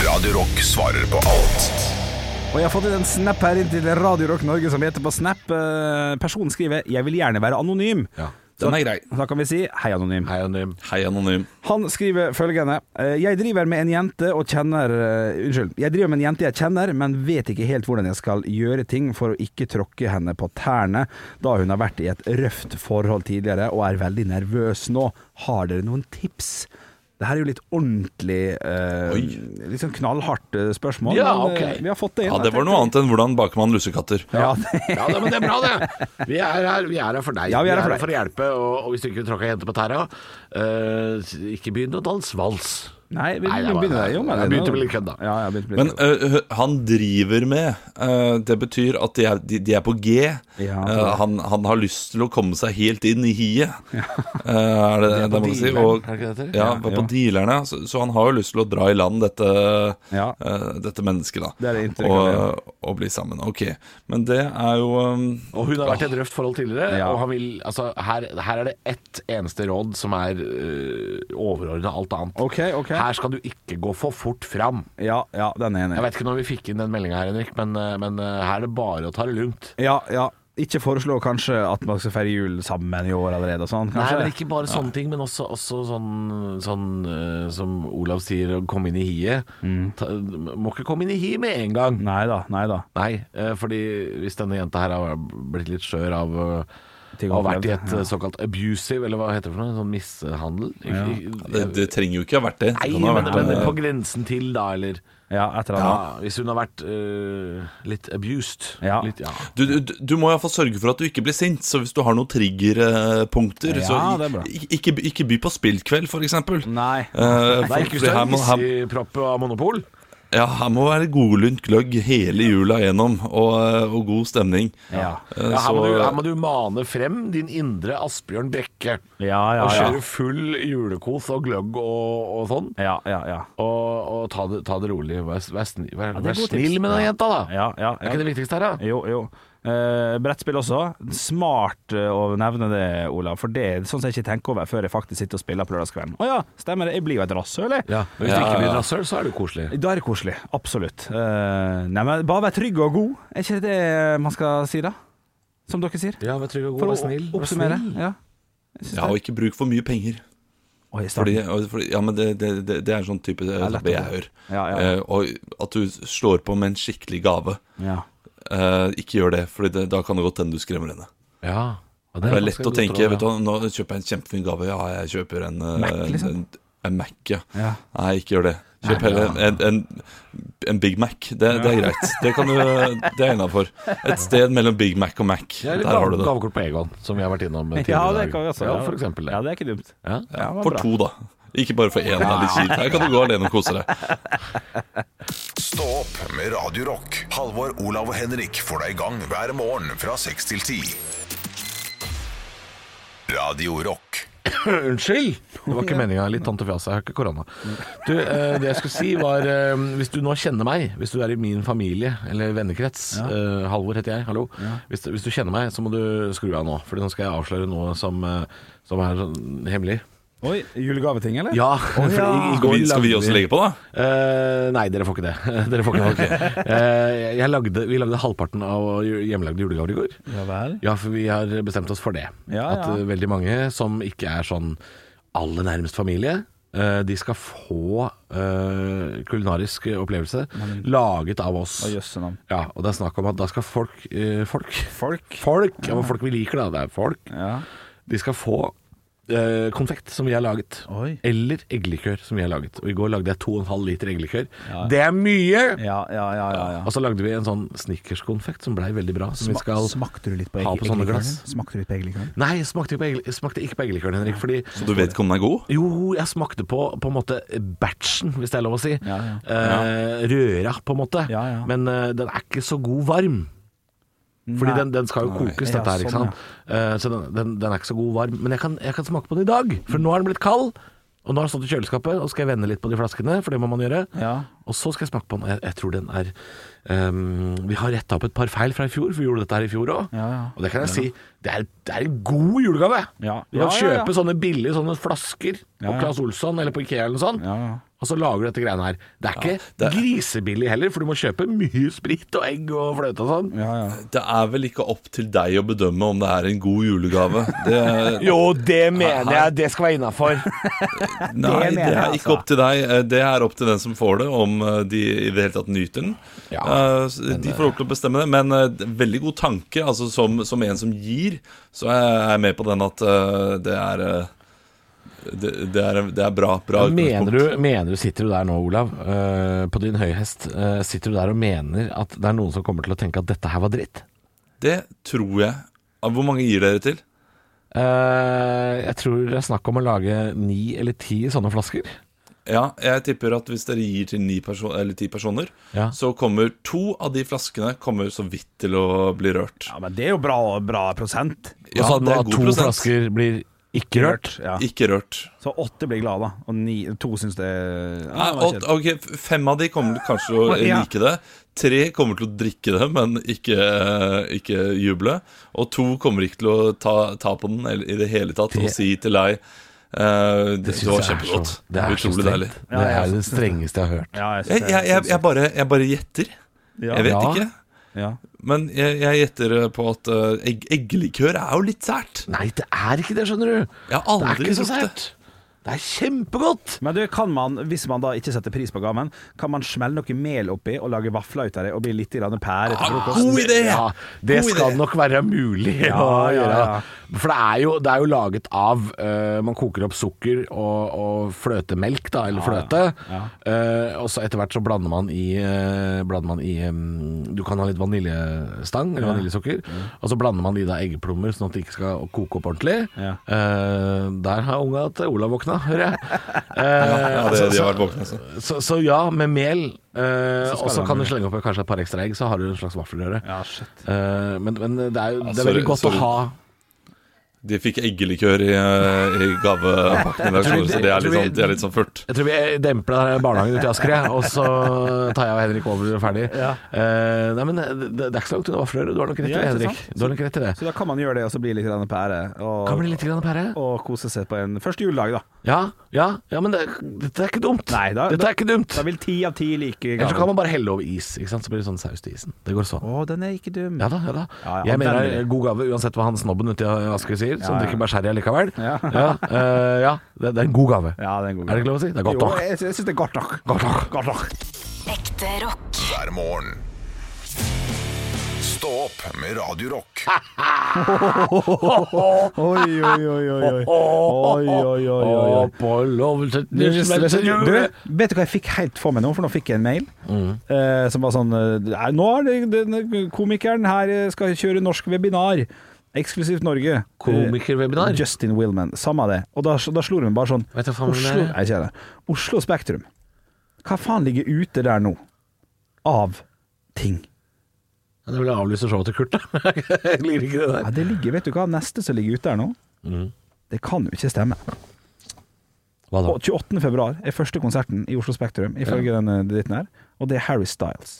Radio Rock svarer på alt.
Og jeg har fått inn en snap her inn til Radio Rock Norge som heter på snap eh, Personen skriver 'Jeg vil gjerne være anonym'.
Den er grei.
Da kan vi si 'Hei, anonym'.
Hei, Anonym.
Hei, anonym.
Han skriver følgende eh, Jeg driver med en jente og kjenner eh, Unnskyld. Jeg driver med en jente jeg kjenner, men vet ikke helt hvordan jeg skal gjøre ting for å ikke tråkke henne på tærne, da hun har vært i et røft forhold tidligere og er veldig nervøs nå. Har dere noen tips? Det her er jo litt ordentlig eh, Litt sånn knallhardt eh, spørsmål.
Ja,
men, eh,
ok.
Vi har fått det inn.
Ja, det var noe annet enn hvordan baker man lussekatter.
Ja, det,
Ja, det, men det er bra, det. Vi er her, vi er her for deg.
Ja, vi er her for deg.
for å hjelpe. Og, og hvis du ikke vil tråkke ei jente på tæra, eh, ikke begynn å danse vals.
nei, vi
Nei, det
begynner
var-
begynne jo med det.
jeg begynte
nå.
med litt kødd, da.
Ja, jeg begynte med litt
Men
kødd.
ø, ø, han driver med ø, Det betyr at de er, de, de er på G.
Ja.
Ø, han, han har lyst til å komme seg helt inn i hiet, Ø, er det det man må si.
er det
Og,
ikke det heter?
ja, på
Ja.
dealerne. Så, så han har jo lyst til å dra i land dette,
Ja.
ø, dette mennesket, da.
Det er det inntrykket,
og, og bli sammen. Ok. Men det er jo um, ø,
Og hun har vært i et røft forhold tidligere.
Ja.
Og han vil, altså, her, her er det ett eneste råd som er uh, overordna alt annet.
Ok, ok.
Her skal du ikke gå for fort fram.
Ja, ja, den er enig.
Jeg veit ikke når vi fikk inn den meldinga her, Henrik, men, eh, men eh, her er det bare å ta det lugnt.
Ja, ja. Ikke foreslå kanskje at man skal feire jul sammen i år allerede og sånn, kanskje?
Nei, men ikke bare sånne ting, men også, også sånn, sånn eh, som Olav sier, å komme inn i hiet. Ta, må ikke komme inn i hiet med en gang.
Nei da, nei da.
Nei, eh, fordi hvis denne jenta her har blitt litt skjør av eh,
Ting
å ha
opplevd,
vært i et eh, såkalt abusive, eller hva heter det for noe, sånn mishandel? Ikke-
det, det trenger jo ikke ha vært det.
Nei,
det kan ha
men,
vært, eh,
men
ø,
eh, på grensen til, da, eller
Ja, etter at
ja, Hvis hun har vært eh, litt abused.
Ja.
Litt, ja.
du, du, du må iallfall sørge for at du ikke blir sint, så hvis du har noen triggerpunkter,
Ja,
så
det er bra.
ik- ikke, ikke by på spillkveld, f.eks.
Nei.
Eh,
Nei,
for-
ikke
for her må,
hvis du
her,
er propp av monopol.
ja, her må være godlynt gløgg hele jula gjennom, og, eh, og god stemning.
Ja.
Eh,
Ja, her, må du, her
så,
må du mane frem din indre Asbjørn Brekke.
Ja, ja,
Og
ja.
kjøre full julekos og gløgg og, og sånn.
Ja, ja, ja.
Og, og ta, det, ta det rolig. Vær, vær, snill, vær,
Ja, det er
vær
god tips.
snill med den jenta, da.
ja, ja,
Er ikke
ja.
det viktigste her, da?
Jo, jo. Eh, brettspill også. Smart eh, å nevne det, Olav, for det er sånn som jeg ikke tenker over før jeg faktisk sitter og spiller på lørdagskvelden. Å ja, stemmer det. Jeg blir jo et rasshøl, jeg.
Men hvis du ikke blir rasshøl, så er det koselig.
Da er det koselig. Absolutt. Eh, nei, men bare vær trygg og god. Er ikke det det man skal si, da? Som dere sier.
Ja, vær trygg og
For å
god. Vær snill. Vær
oppsummere.
snill.
Ja.
ja, og ikke bruk for mye penger.
Oi, starten.
Fordi, og- fordi, ja, men det, det, det, det er en sånn type eh,
lett å
tabbe jeg hører.
Ja, ja.
Eh, og at du slår på med en skikkelig gave.
ja.
Eh, ikke gjør det, for da kan det godt hende du skremmer henne.
Ja. Ja,
Det er
ganske
lett å
godt
tenke
råd,
vet du,
ja.
hva, Nå kjøper jeg en kjempefin gave. Ja, jeg kjøper en eh,
Mac, liksom?
En, en Mac, ja.
Ja.
Nei, ikke gjør det. Kjøp heller en, en, en Big Mac. Det, det er greit. Det, kan du, det er innafor. Et sted mellom Big Mac og Mac.
Ja,
Der
eller
har du det.
Gavekort på Egon, som vi har vært innom tidligere.
Ja,
i
det
dag.
kan vi også.
Ja, for eksempel det.
Ja, det er ikke dumt. Ja,
Ja.
det var
For
bra.
to, da. Ikke bare for én. Det er litt kjipt. Her kan du gå alene og kose deg.
Stå opp med Radio Rock. Halvor, Olav og Henrik får deg i gang hver morgen fra 6 til 10. Radio Rock.
Unnskyld! Det var ikke meninga. Litt tantefjas. Jeg har ikke korona. Du, eh, det jeg skulle si var eh, Hvis du nå kjenner meg, hvis du er i min familie eller vennekrets eh, Halvor heter jeg, hallo. Hvis, hvis du kjenner meg, så må du skru av nå. For nå skal jeg avsløre noe som, eh, som er sånn hemmelig.
Oi, julegaveting, eller?
Ja, for i, i går
Skal
lagde
vi også legge på, da?
Eh, nei, dere får ikke det. dere får ikke det. Eh, jeg lagde, vi lagde halvparten av hjemmelagde julegaver i går.
Ja vel.
Ja, for vi har bestemt oss for det.
Ja,
At
ja.
eh, veldig mange som ikke er sånn aller nærmest familie, eh, de skal få eh, kulinarisk opplevelse laget av oss.
Å, jøsse navn.
Ja, og det er snakk om at da skal folk eh, Folk,
Folk.
folk, ja. men folk vi liker, da. Det er folk.
Ja.
De skal få eh, konfekt som vi har laget.
Oi.
Eller eggelikør som vi har laget. Og i går lagde jeg 2,5 liter eggelikør. Det er mye!
Ja, ja, ja. ja, ja.
Og så lagde vi en sånn snickerskonfekt som blei veldig bra. Som vi skal
Smakte du litt på
ha på sånne glass.
eggelikøren? Smakte du litt på eggelikøren?
Nei, smakte ikke på, egg- smakte ikke på eggelikøren, Henrik. Fordi
Så du vet ikke om den er god?
Jo, jeg smakte på på en måte batchen, hvis det er lov å si.
Ja, ja.
Eh, røra, på en måte.
Ja, ja.
Men eh, den er ikke så god varm. Fordi
Nei.
den, den skal jo
Nei.
kokes,
Ja,
dette her. ikke
sånn,
sant? Eh, så den, den, den er ikke så god varm. Men jeg kan, jeg kan smake på den i dag, for nå har den blitt kald. Og nå har den stått i kjøleskapet, og skal jeg vende litt på de flaskene, for det må man gjøre.
Ja.
Og så skal jeg smake på den. og Jeg, jeg tror den er ehm, Vi har retta opp et par feil fra i fjor, for vi gjorde dette her i fjor òg.
Ja, ja.
Og det kan jeg si, det er, det er en god julegave.
Ja.
Du kan
Ja, ja,
kjøpe
ja.
sånne billige sånne flasker på
ja.
Claes Olsson eller på Ikea eller noe sånt.
Ja, ja.
Og så lager du dette greiene her. Det er ikke
det-
grisebillig heller, for du må kjøpe mye sprit og egg og fløte og sånn.
Ja, ja.
Det er vel ikke opp til deg å bedømme om det er en god julegave. Det,
Jo, det mener
Her-
jeg. Det skal være innafor.
nei,
mener
det er
jeg,
ikke
altså.
opp til deg. Eh, Det er opp til den som får det, om eh, de i det hele tatt nyter den.
Ja,
Eh, s- de får lov til å bestemme det, men eh, det er veldig god tanke. Altså, som, som en som gir, så er jeg- jeg med på den at eh, det er eh, det, det, er, det er bra. bra
Mener du,
utgangspunkt.
mener du, sitter du der nå, Olav, eh, på din høye hest, eh, sitter du der og mener at det er noen som kommer til å tenke at dette her var dritt?
Det tror jeg. Ah, Hvor mange gir dere til?
Eh, jeg tror det er snakk om å lage ni eller ti sånne flasker.
Ja, jeg tipper at hvis dere gir til ni perso eller ti personer,
Ja.
så kommer to av de flaskene kommer så vidt til å bli rørt. Altså,
ja, men det er jo bra, bra prosent.
og så at
det er
da
god
to
prosent.
flasker blir ikke rørt.
Ja.
Ikke rørt.
Så åtte blir glad, da. Og ni, to syns det ja,
Nei,
det var
og,
kjedelig.
ok, f- Fem av de kommer til kanskje til å
Ja.
like det. Tre kommer til å drikke det, men ikke, eh, ikke juble. Og to kommer ikke til å ta, ta på den eller, i det hele tatt og si til deg eh, det, det
synes
var
jeg er så-
kjempegodt.
Det er så
Utrolig
strengt.
deilig.
Ja, altså.
det
jeg
er
synes
det strengeste jeg har hørt.
Ja, jeg,
Jeg,
synes det er
jeg, jeg,
sinnssykt.
jeg, bare, jeg bare gjetter.
Ja.
Jeg vet
Ja.
ikke.
ja.
Men jeg, jeg gjetter på at eh, egg, eggelikør er jo litt sært.
Nei, det er ikke det, skjønner du.
Jeg
Det er
har aldri
ikke så
gjort det.
sært. Det er kjempegodt.
Men du, kan man, hvis man da ikke setter pris på gaven, kan man smelle noe mel oppi og lage vafler ut av det og bli litt grann pære til
Ah,
frokost?
god idé!
Ja, det
God
skal
idé.
nok være mulig å
Ja, ja,
gjøre.
ja.
For det er jo, det er jo laget av eh, Man koker opp sukker og, og fløtemelk, da, eller fløte. Eh, og så etter hvert så blander man i, eh, blander man i eh, Du kan ha litt vaniljestang eller vaniljesukker. Og så blander man i da eggeplommer, sånn at det ikke skal koke opp ordentlig.
Ja.
Eh, der har unga til Olav våkna, hører jeg. Eh,
Ja, det, de har vært våkne, altså.
så, så ja, med mel. eh,
skal
og så
det
kan
være
du slenge opp kanskje et par ekstra egg, så har du en slags vaffelrøre.
Ja, shit.
Eh, men, men det er jo det er
sorry,
veldig godt
sorry.
å ha
De fikk eggelikør i, eh, i gavepakken i dag,
tror vi-
så det er
jeg tror
litt
vi-
sånn, det er litt sånn furt.
Jeg tror vi demper den her barnehagen ute i Asker, jeg, og så tar jeg og Henrik over og er ferdig. Eh, nei, men det, det er ikke så langt unna vaffelrøre. Du har nok rett i
Ja,
det,
ikke
Henrik.
sant?
Du har nok rett i det.
Så da kan man gjøre det og så bli litt grann pære, og,
Kan bli litt grann pære.
og kose seg på en første juledag, da.
Ja, ja, ja, men det, dette er ikke dumt.
Nei, da-
dette er ikke dumt.
Da vil ti av ti like
Eller så kan
gaven.
man bare helle over is, ikke sant? så blir det sånn saus til isen. Det går sånn.
Å, den er ikke dum.
Ja da, ja da.
Ja, ja,
jeg
men
mener
den-
eh, god gave, uansett hva han snobben ute i Asker sier, som
Ja, ja.
drikker bare sherry likevel. Ja,
Ja.
eh, ja det, det er en god gave.
Ja, det er en god
Er det ikke lov å si? Det er godt
Jo,
nok.
jeg, jeg syns det er godt nok.
Godt nok.
Godt nok.
Ekte rock.
hver morgen. Stå opp med Radio Rock.
Oi, oi, oi, oi. oi. Oi, oi, oi, oi, oi.
Å, på lovelse
Du,
til
du, vet du hva jeg fikk helt for meg nå? For nå fikk jeg en mail
Mm.
eh, som var sånn eh, «Nei, Nå er det denne komikeren her eh, skal kjøre norsk webinar. Eksklusivt Norge.
Komikerwebinar?
Eh, Justin Willman. Samme det. Og da, da slo de bare sånn
Vet du hva faen det
Oslo,
er?
Nei, ikke det. Oslo Spektrum. Hva faen ligger ute der nå? Av ting.
Ja, Det vil jeg avlyse showet til Kurt, da. Jeg liker ikke det der.
Ja, det ligger, vet du hva, neste som ligger ute der nå,
Mm.
det kan jo ikke stemme.
Hva da?
Og 28. februar er første konserten i Oslo Spektrum, ifølge denne dritten her, og det er Harry Styles.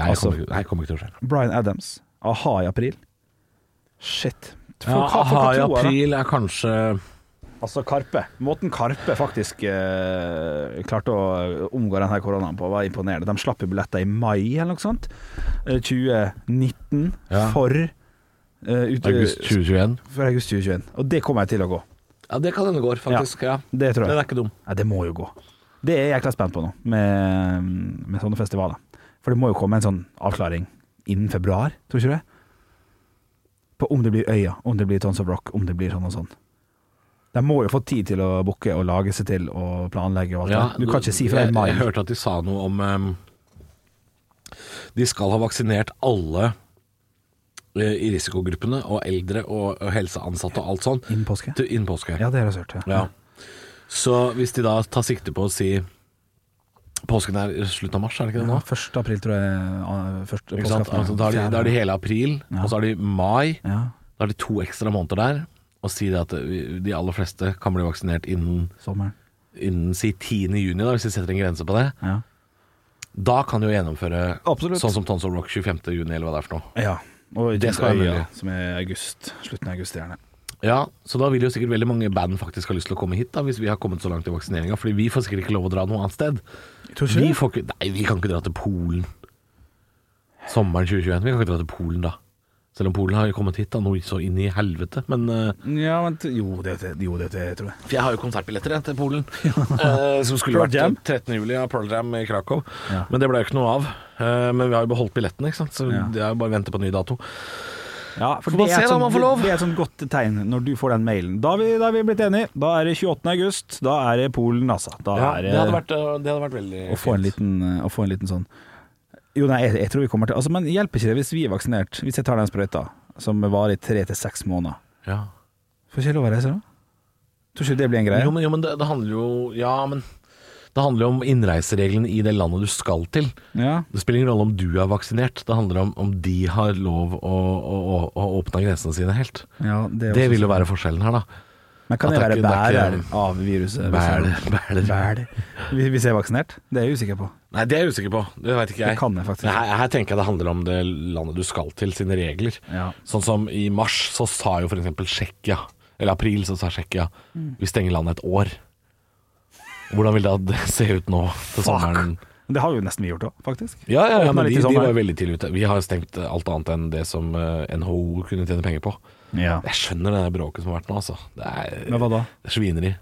Nei, jeg
altså-
kommer ikke, nei, jeg kommer ikke til å skje.
Brian Adams. A-ha i april. Shit. Folk
Ja,
har- folk
aha,
har
i
troa, da.
april er kanskje
Altså Karpe. Måten Karpe faktisk eh, klarte å omgå denne koronaen på, var imponerende. De slapp jo billetter i mai eller noe sånt. Eh, 2019
Ja.
for eh, ut,
august 2021.
For august 2021. Og det kommer jeg til å gå.
Ja, det kan hende går, faktisk. Ja.
Det tror jeg.
Den er ikke dum.
Nei, det må jo gå. Det er jeg jækla spent på nå, med, med sånne festivaler. For det må jo komme en sånn avklaring innen februar, tror ikke du det? På om det blir Øya, om det blir Tons of Rock, om det blir sånn og sånn. De må jo få tid til å booke og lage seg til og planlegge og alt
Ja,
det. Du kan ikke si fra i
jeg,
mai.
jeg hørte at de sa noe om em, De skal ha vaksinert alle eh, i risikogruppene, og eldre og, og helseansatte og alt sånn,
Innen påske?
til- innen påske.
Ja, det har jeg hørt. Ja.
Ja. Så hvis de da tar sikte på å si Påsken er i slutten av mars, er det ikke det nå?
1. april, tror jeg. ah, Første
Ikke sant?
påskeaften.
Altså, da, har de, da har de hele april, og så har de mai.
Ja.
Da har de to ekstra måneder der. Og si det at vi- de aller fleste kan bli vaksinert innen,
Sommeren.
innen si 10. juni, da, hvis de setter en grense på det.
Ja.
Da kan de jo gjennomføre
Absolutt.
sånn som Tons of Rock 25. juni, eller hva det er for noe.
ja. Og
Det skal være
Øya,
mulig.
Som er august. Slutten av august, gjerne.
Ja, Så da vil jo sikkert veldig mange band faktisk ha lyst til å komme hit, da, hvis vi har kommet så langt i vaksineringa. Fordi vi får sikkert ikke lov å dra noe annet sted.
Tror
Vi får ikke, nei, vi kan ikke dra til Polen. Sommeren 2021. Vi kan ikke dra til Polen da. Selv om Polen har jo kommet hit da, noe så inn i helvete. Men eh,
Ja, men t- jo, det, det, jo, det, det tror jeg.
for jeg har jo konsertbilletter jeg, til Polen, eh, som skulle
Pearl
vært
Jam.
13. juli av Pearl Jam i Krakow.
Ja.
Men det ble jo ikke noe av. Eh, men vi har jo beholdt billetten, ikke sant? så
Ja.
det er jo bare å vente på en ny dato.
Ja, for
Får man
det er et
se da,
sånt-
man får lov.
Det er et sånt godt tegn når du får den mailen. Da har vi, da er vi blitt enige. Da er det 28. august. Da er det Polen, altså. Da er
det, hadde vært, eh, det hadde vært veldig
å få en liten, å få en liten sånn Jo, nei, jeg, jeg tror vi kommer til altså, Men hjelper ikke det hvis vi er vaksinert? Hvis jeg tar den sprøyta, som varer i tre til seks måneder.
Ja.
Får ikke jeg lov å reise da? Tror ikke det blir en greie?
Jo, men, jo, men det, det handler jo Ja, men det handler jo om innreisereglene i det landet du skal til.
ja.
Det spiller ingen rolle om du er vaksinert, det handler om om de har lov å, å, å, å åpne grensene sine helt.
ja, sånn. det, er
Det
også
vil jo
sant.
være forskjellen her, da.
Men kan
at
jeg
det er
være
ikke- det er
bærer
ikke-
av viruset? hvis
Bæler,
jeg-
bæler.
Bæler. Hvis hvis jeg sånn. er vaksinert? Det er jeg usikker på.
Nei, det er jeg usikker på. Det veit ikke jeg.
Det kan jeg faktisk
Men Her, her tenker jeg det handler om det landet du skal til, sine regler.
Ja.
Sånn som i mars så sa jo f.eks. Tsjekkia, eller april så sa Tsjekkia,
Mm.
vi stenger landet et år. Hvordan vil da det se ut nå til sommeren?
Det har jo nesten vi gjort òg, faktisk.
Ja, ja, ja
Åpna
men
litt i
de, de
sommer.
var jo veldig tidlig ute. Vi har jo stengt alt annet enn det som eh, NHO kunne tjene penger på.
Ja.
Jeg skjønner det bråket som har vært nå, altså. Det er,
Men hva da?
det er svineri.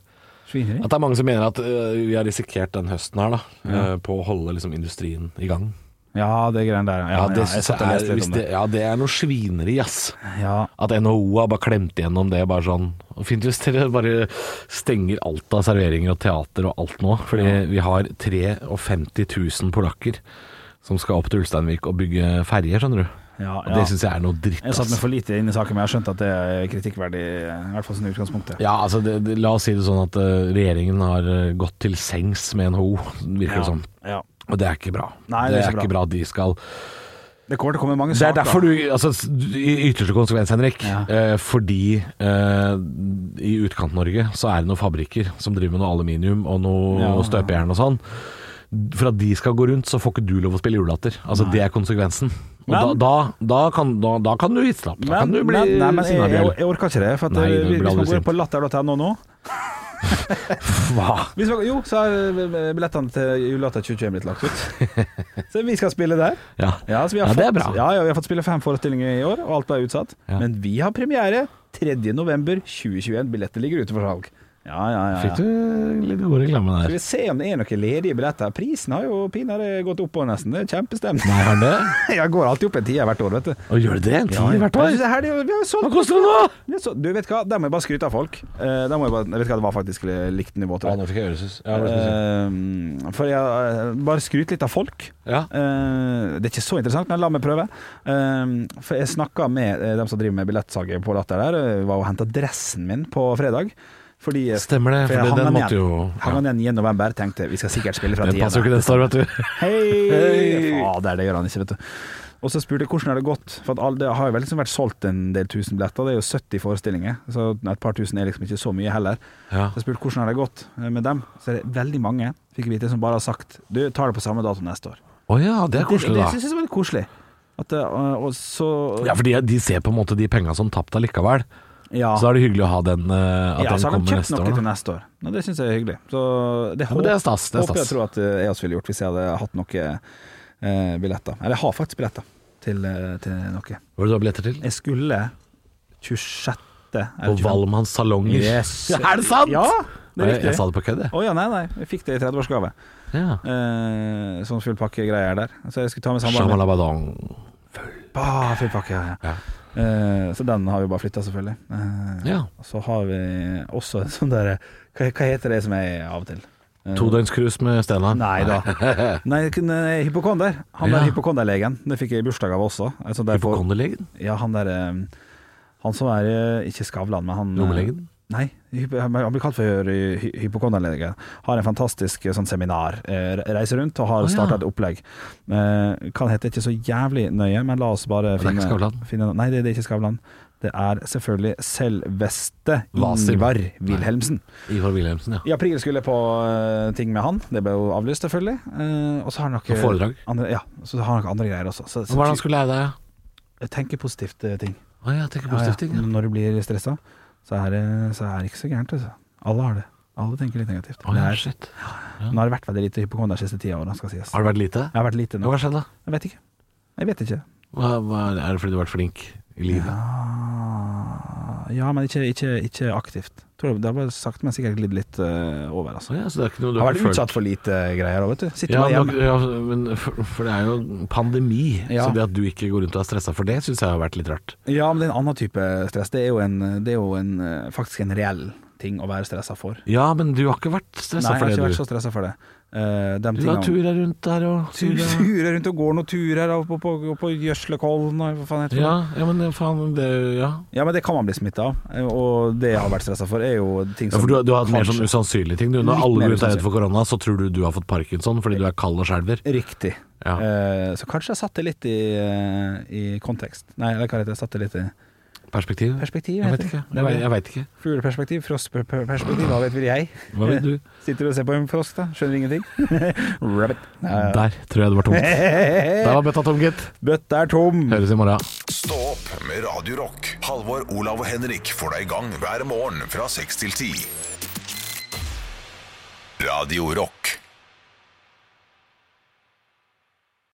Svineri?
At det er mange som mener at øh, vi har risikert den høsten her, da. øh, på å holde liksom industrien i gang.
Ja, det greiene der. Ja,
det,
ja, jeg
synes
satt og
jeg
leste
er,
litt
hvis
om
det,
det.
ja, det er noe svineri, ass.
Ja,
At NHO har bare klemt gjennom det, bare sånn Fint hvis dere bare stenger alt av serveringer og teater og alt nå. Fordi vi har 53 000 polakker som skal opp til Ulsteinvik og bygge ferjer, skjønner du.
ja,
Og
ja.
Det syns jeg er noe dritt,
Jeg satt
ass.
med for lite inn i saken, men jeg har skjønt at det er kritikkverdig, i hvert fall sånn i utgangspunktet.
Ja, altså det, det, La oss si det sånn at øh, regjeringen har øh, gått til sengs med NHO, virker det sånn. som.
Ja.
Og det er ikke bra.
Nei,
det, er ikke bra at de skal
Det kommer til å komme mange
Det er
saker.
derfor du altså, s- I ytterste konsekvens, Henrik.
Ja.
Eh, fordi eh, i Utkant-Norge så er det noen fabrikker som driver med noe aluminium og noe
Ja.
støpejern og sånn. For at de skal gå rundt, så får ikke du lov å spille julelatter. Altså Det er konsekvensen. Og
Men-
da, da, da, kan, da, da kan du gi slapp. Da
Men,
kan du bli
men, nei, men jeg,
sinna,
jeg,
Bjørn.
jeg orker ikke det. For at
Nei,
eh,
du
hvis
blir
man
aldri
går inn
sint.
på latter.no nå
Hva?
hvis man, Jo, så er eh, billettene til Julelatter 2021 blitt lagt ut. Så vi skal spille der.
Ja.
Ja, så vi har
Ja,
fått,
det er bra.
Ja, ja, vi har fått spille fem forestillinger i år, og alt ble utsatt.
Ja.
Men vi har premiere 3.11.2021. Billettene ligger ute for salg. Ja, ja, ja. ja.
Fikk du litt god reklame
Skal
der?
vi se om det er noen ledige billetter. Prisen har jo pinadø gått opp og nesten. Det er kjempestemning.
Nei, har den det?
Jeg går alltid opp en tier hvert år, vet du.
Og gjør det det? En tid hvert år?
Jeg synes det her, det er jo- vi har jo
Hva
solgt
koster det nå?
vi har solgt- Du vet hva, der må jeg bare skryte av folk. Eh, der må jeg bare, jeg vet hva, det var faktisk likt nivå, tror jeg.
nå fikk jeg øresus.
Eh, for jeg eh, bare skryt litt av folk.
Ja.
Eh, det er ikke så interessant, men la meg prøve. Eh, for jeg snakka med eh, dem som driver med billettsalget på Latter der. eh, Var og henta dressen min på fredag. Fordi jeg-
Stemmer det, for
jeg
den
hang igjen.
måtte jo-
Hang han igjen i november, tenkte jeg, vi skal sikkert spille fra
Den
tida.
passer jo ikke den står, vet du.
Hei!
Hei!
Fader, det gjør han ikke, vet du. Og så spurte jeg hvordan har det gått, for at alle, det har jo vel liksom vært solgt en del tusen billetter. Det er jo 70 forestillinger, så et par tusen er liksom ikke så mye heller.
Ja.
Så jeg spurte hvordan har det gått eh, med dem. Så er det veldig mange, fikk jeg vite, som bare har sagt du tar det på samme dato neste år.
Å ja, det er koselig,
det,
da.
det synes jeg var litt koselig. At, eh, og så
Ja, for de, de ser på en måte de penga som tapt allikevel.
ja.
Så da er det hyggelig å ha den, eh, at
ja,
den
så har de
kommer
kjøpt
neste
noe
år.
til
da.
neste år. Ja, det syns jeg er hyggelig. Så det,
men det er stas, det er
håper jeg
stas.
tror at eh, jeg også ville gjort hvis jeg hadde hatt noen eh, billetter. Eller jeg har faktisk billetter til, eh, til noe.
Hva er det du har billetter til?
Jeg skulle 26.
På Valmanns salonger.
Yes.
Ja, er det sant?!
Ja, det er
jeg,
riktig.
jeg sa det på kødd, jeg.
Å ja, nei, nei. Jeg fikk det i 30-årsgave.
Ja.
Eh, sånn fullpakkegreier der. Så jeg skulle ta med samboeren min.
Shamalabadong.
Bah, fullpakke, Ah, ja, ja. Eh, så den har vi bare flytta, selvfølgelig. Eh,
Ja.
og Så har vi også en sånn derre hva, hva heter det som er av og til? Eh,
Todøgnscruise med Steinar.
Nei da. Nei, kun, eh, hypokonder. Han der
Ja.
hypokonderlegen. Det fikk jeg i bursdag av også. Et sånt der på-
Hypokonderlegen?
Ja, han der eh, Han som er eh, ikke Skavlan, men han eh,
Lommelegen?
Nei, hypo- han blir kalt for eh, hy- hy- hypokonderlege. Har en fantastisk eh, sånn seminar. eh, re- Reiser rundt og har
ja.
starta et opplegg. Eh, Kan hete ikke så jævlig nøye, men la oss bare
det er ikke
finne,
Skavlan.
finne Nei, det, det er ikke Skavlan. Det er selvfølgelig selveste
Vasim.
Ingvar Wilhelmsen.
Ivar Wilhelmsen, ja.
I april skulle jeg på eh, ting med han. Det ble jo avlyst, selvfølgelig. Eh, og så har han nok
Og foredrag.
Andre, ja, så har han nok andre greier også. Så, så
Hva er det han skulle lære deg?
tenker positivt eh, ting.
Å ja, tenker positivt ting.
Ja, Mm.
Ja,
ja. Når du blir stressa, så, er det- så er det ikke så gærent. Altså. Alle har det. Alle tenker litt negativt.
Å, ja,
Det er-
shit.
Nå har det vært veldig lite hypokonder de siste ti åra, skal sies.
Har det vært lite?
Jeg har vært lite
Ja,
nå.
hva skjedde da?
Jeg vet ikke. Jeg vet ikke.
Hva, hva, er det fordi du har vært flink i livet?
Ah, ja, men ikke, ikke, ikke aktivt. Tror det, det har bare sakte, men sikkert glidd litt eh, over, altså.
Å ja, så det er ikke noe du
Jeg har
har
vært
følt
utsatt for lite greier òg, vet du. Sitter
Ja,
bare
men,
hjemme.
ja, men for, for det er jo pandemi,
Ja.
så det at du ikke går rundt og er stressa for det, syns jeg har vært litt rart.
Ja, men det er en annen type stress. Det er jo, en, det er jo en, eh, faktisk en reell ting å være stressa for.
Ja, men du har ikke vært
Nei,
stressa
jeg
for
har
det,
ikke vært
du.
så stressa for det. Eh, dem
Du har
tingene-
tura rundt der og
turer rundt og går noen turer og på, på, på Gjøslekollen og hva faen heter det.
Ja, ja, men faen, det Ja.
Ja, men det kan man bli smitta av, og det jeg har vært stressa for, er jo ting
Ja,
som
for du, har- du har hatt mer sånn
kanskje-
usannsynlige ting. Du, når
Litt
alle
mer
går ut og er redd
usannsynlig.
for korona, så tror du du har fått parkinson fordi du er kald og skjelver.
Riktig.
Ja.
Eh, så kanskje jeg satte litt i, eh, i kontekst. Nei, eller hva heter det? Jeg Satte litt i
Perspektiv?
perspektiv,
Jeg vet
heter
ikke.
det.
Jeg vet, jeg vet ikke.
Fugleperspektiv, frostperspektiv, hva vet vel jeg?
Hva vil du?
Sitter og ser på en frosk, da. Skjønner ingenting. Rabbit. Nei.
Der tror jeg det var tomt. Der var bøtta tom, gitt.
Bøtta er tom.
Høres i morgen.
Stå opp med Radio Rock. Halvor, Olav og Henrik får deg i gang hver morgen fra 6 til 10. Radio Rock.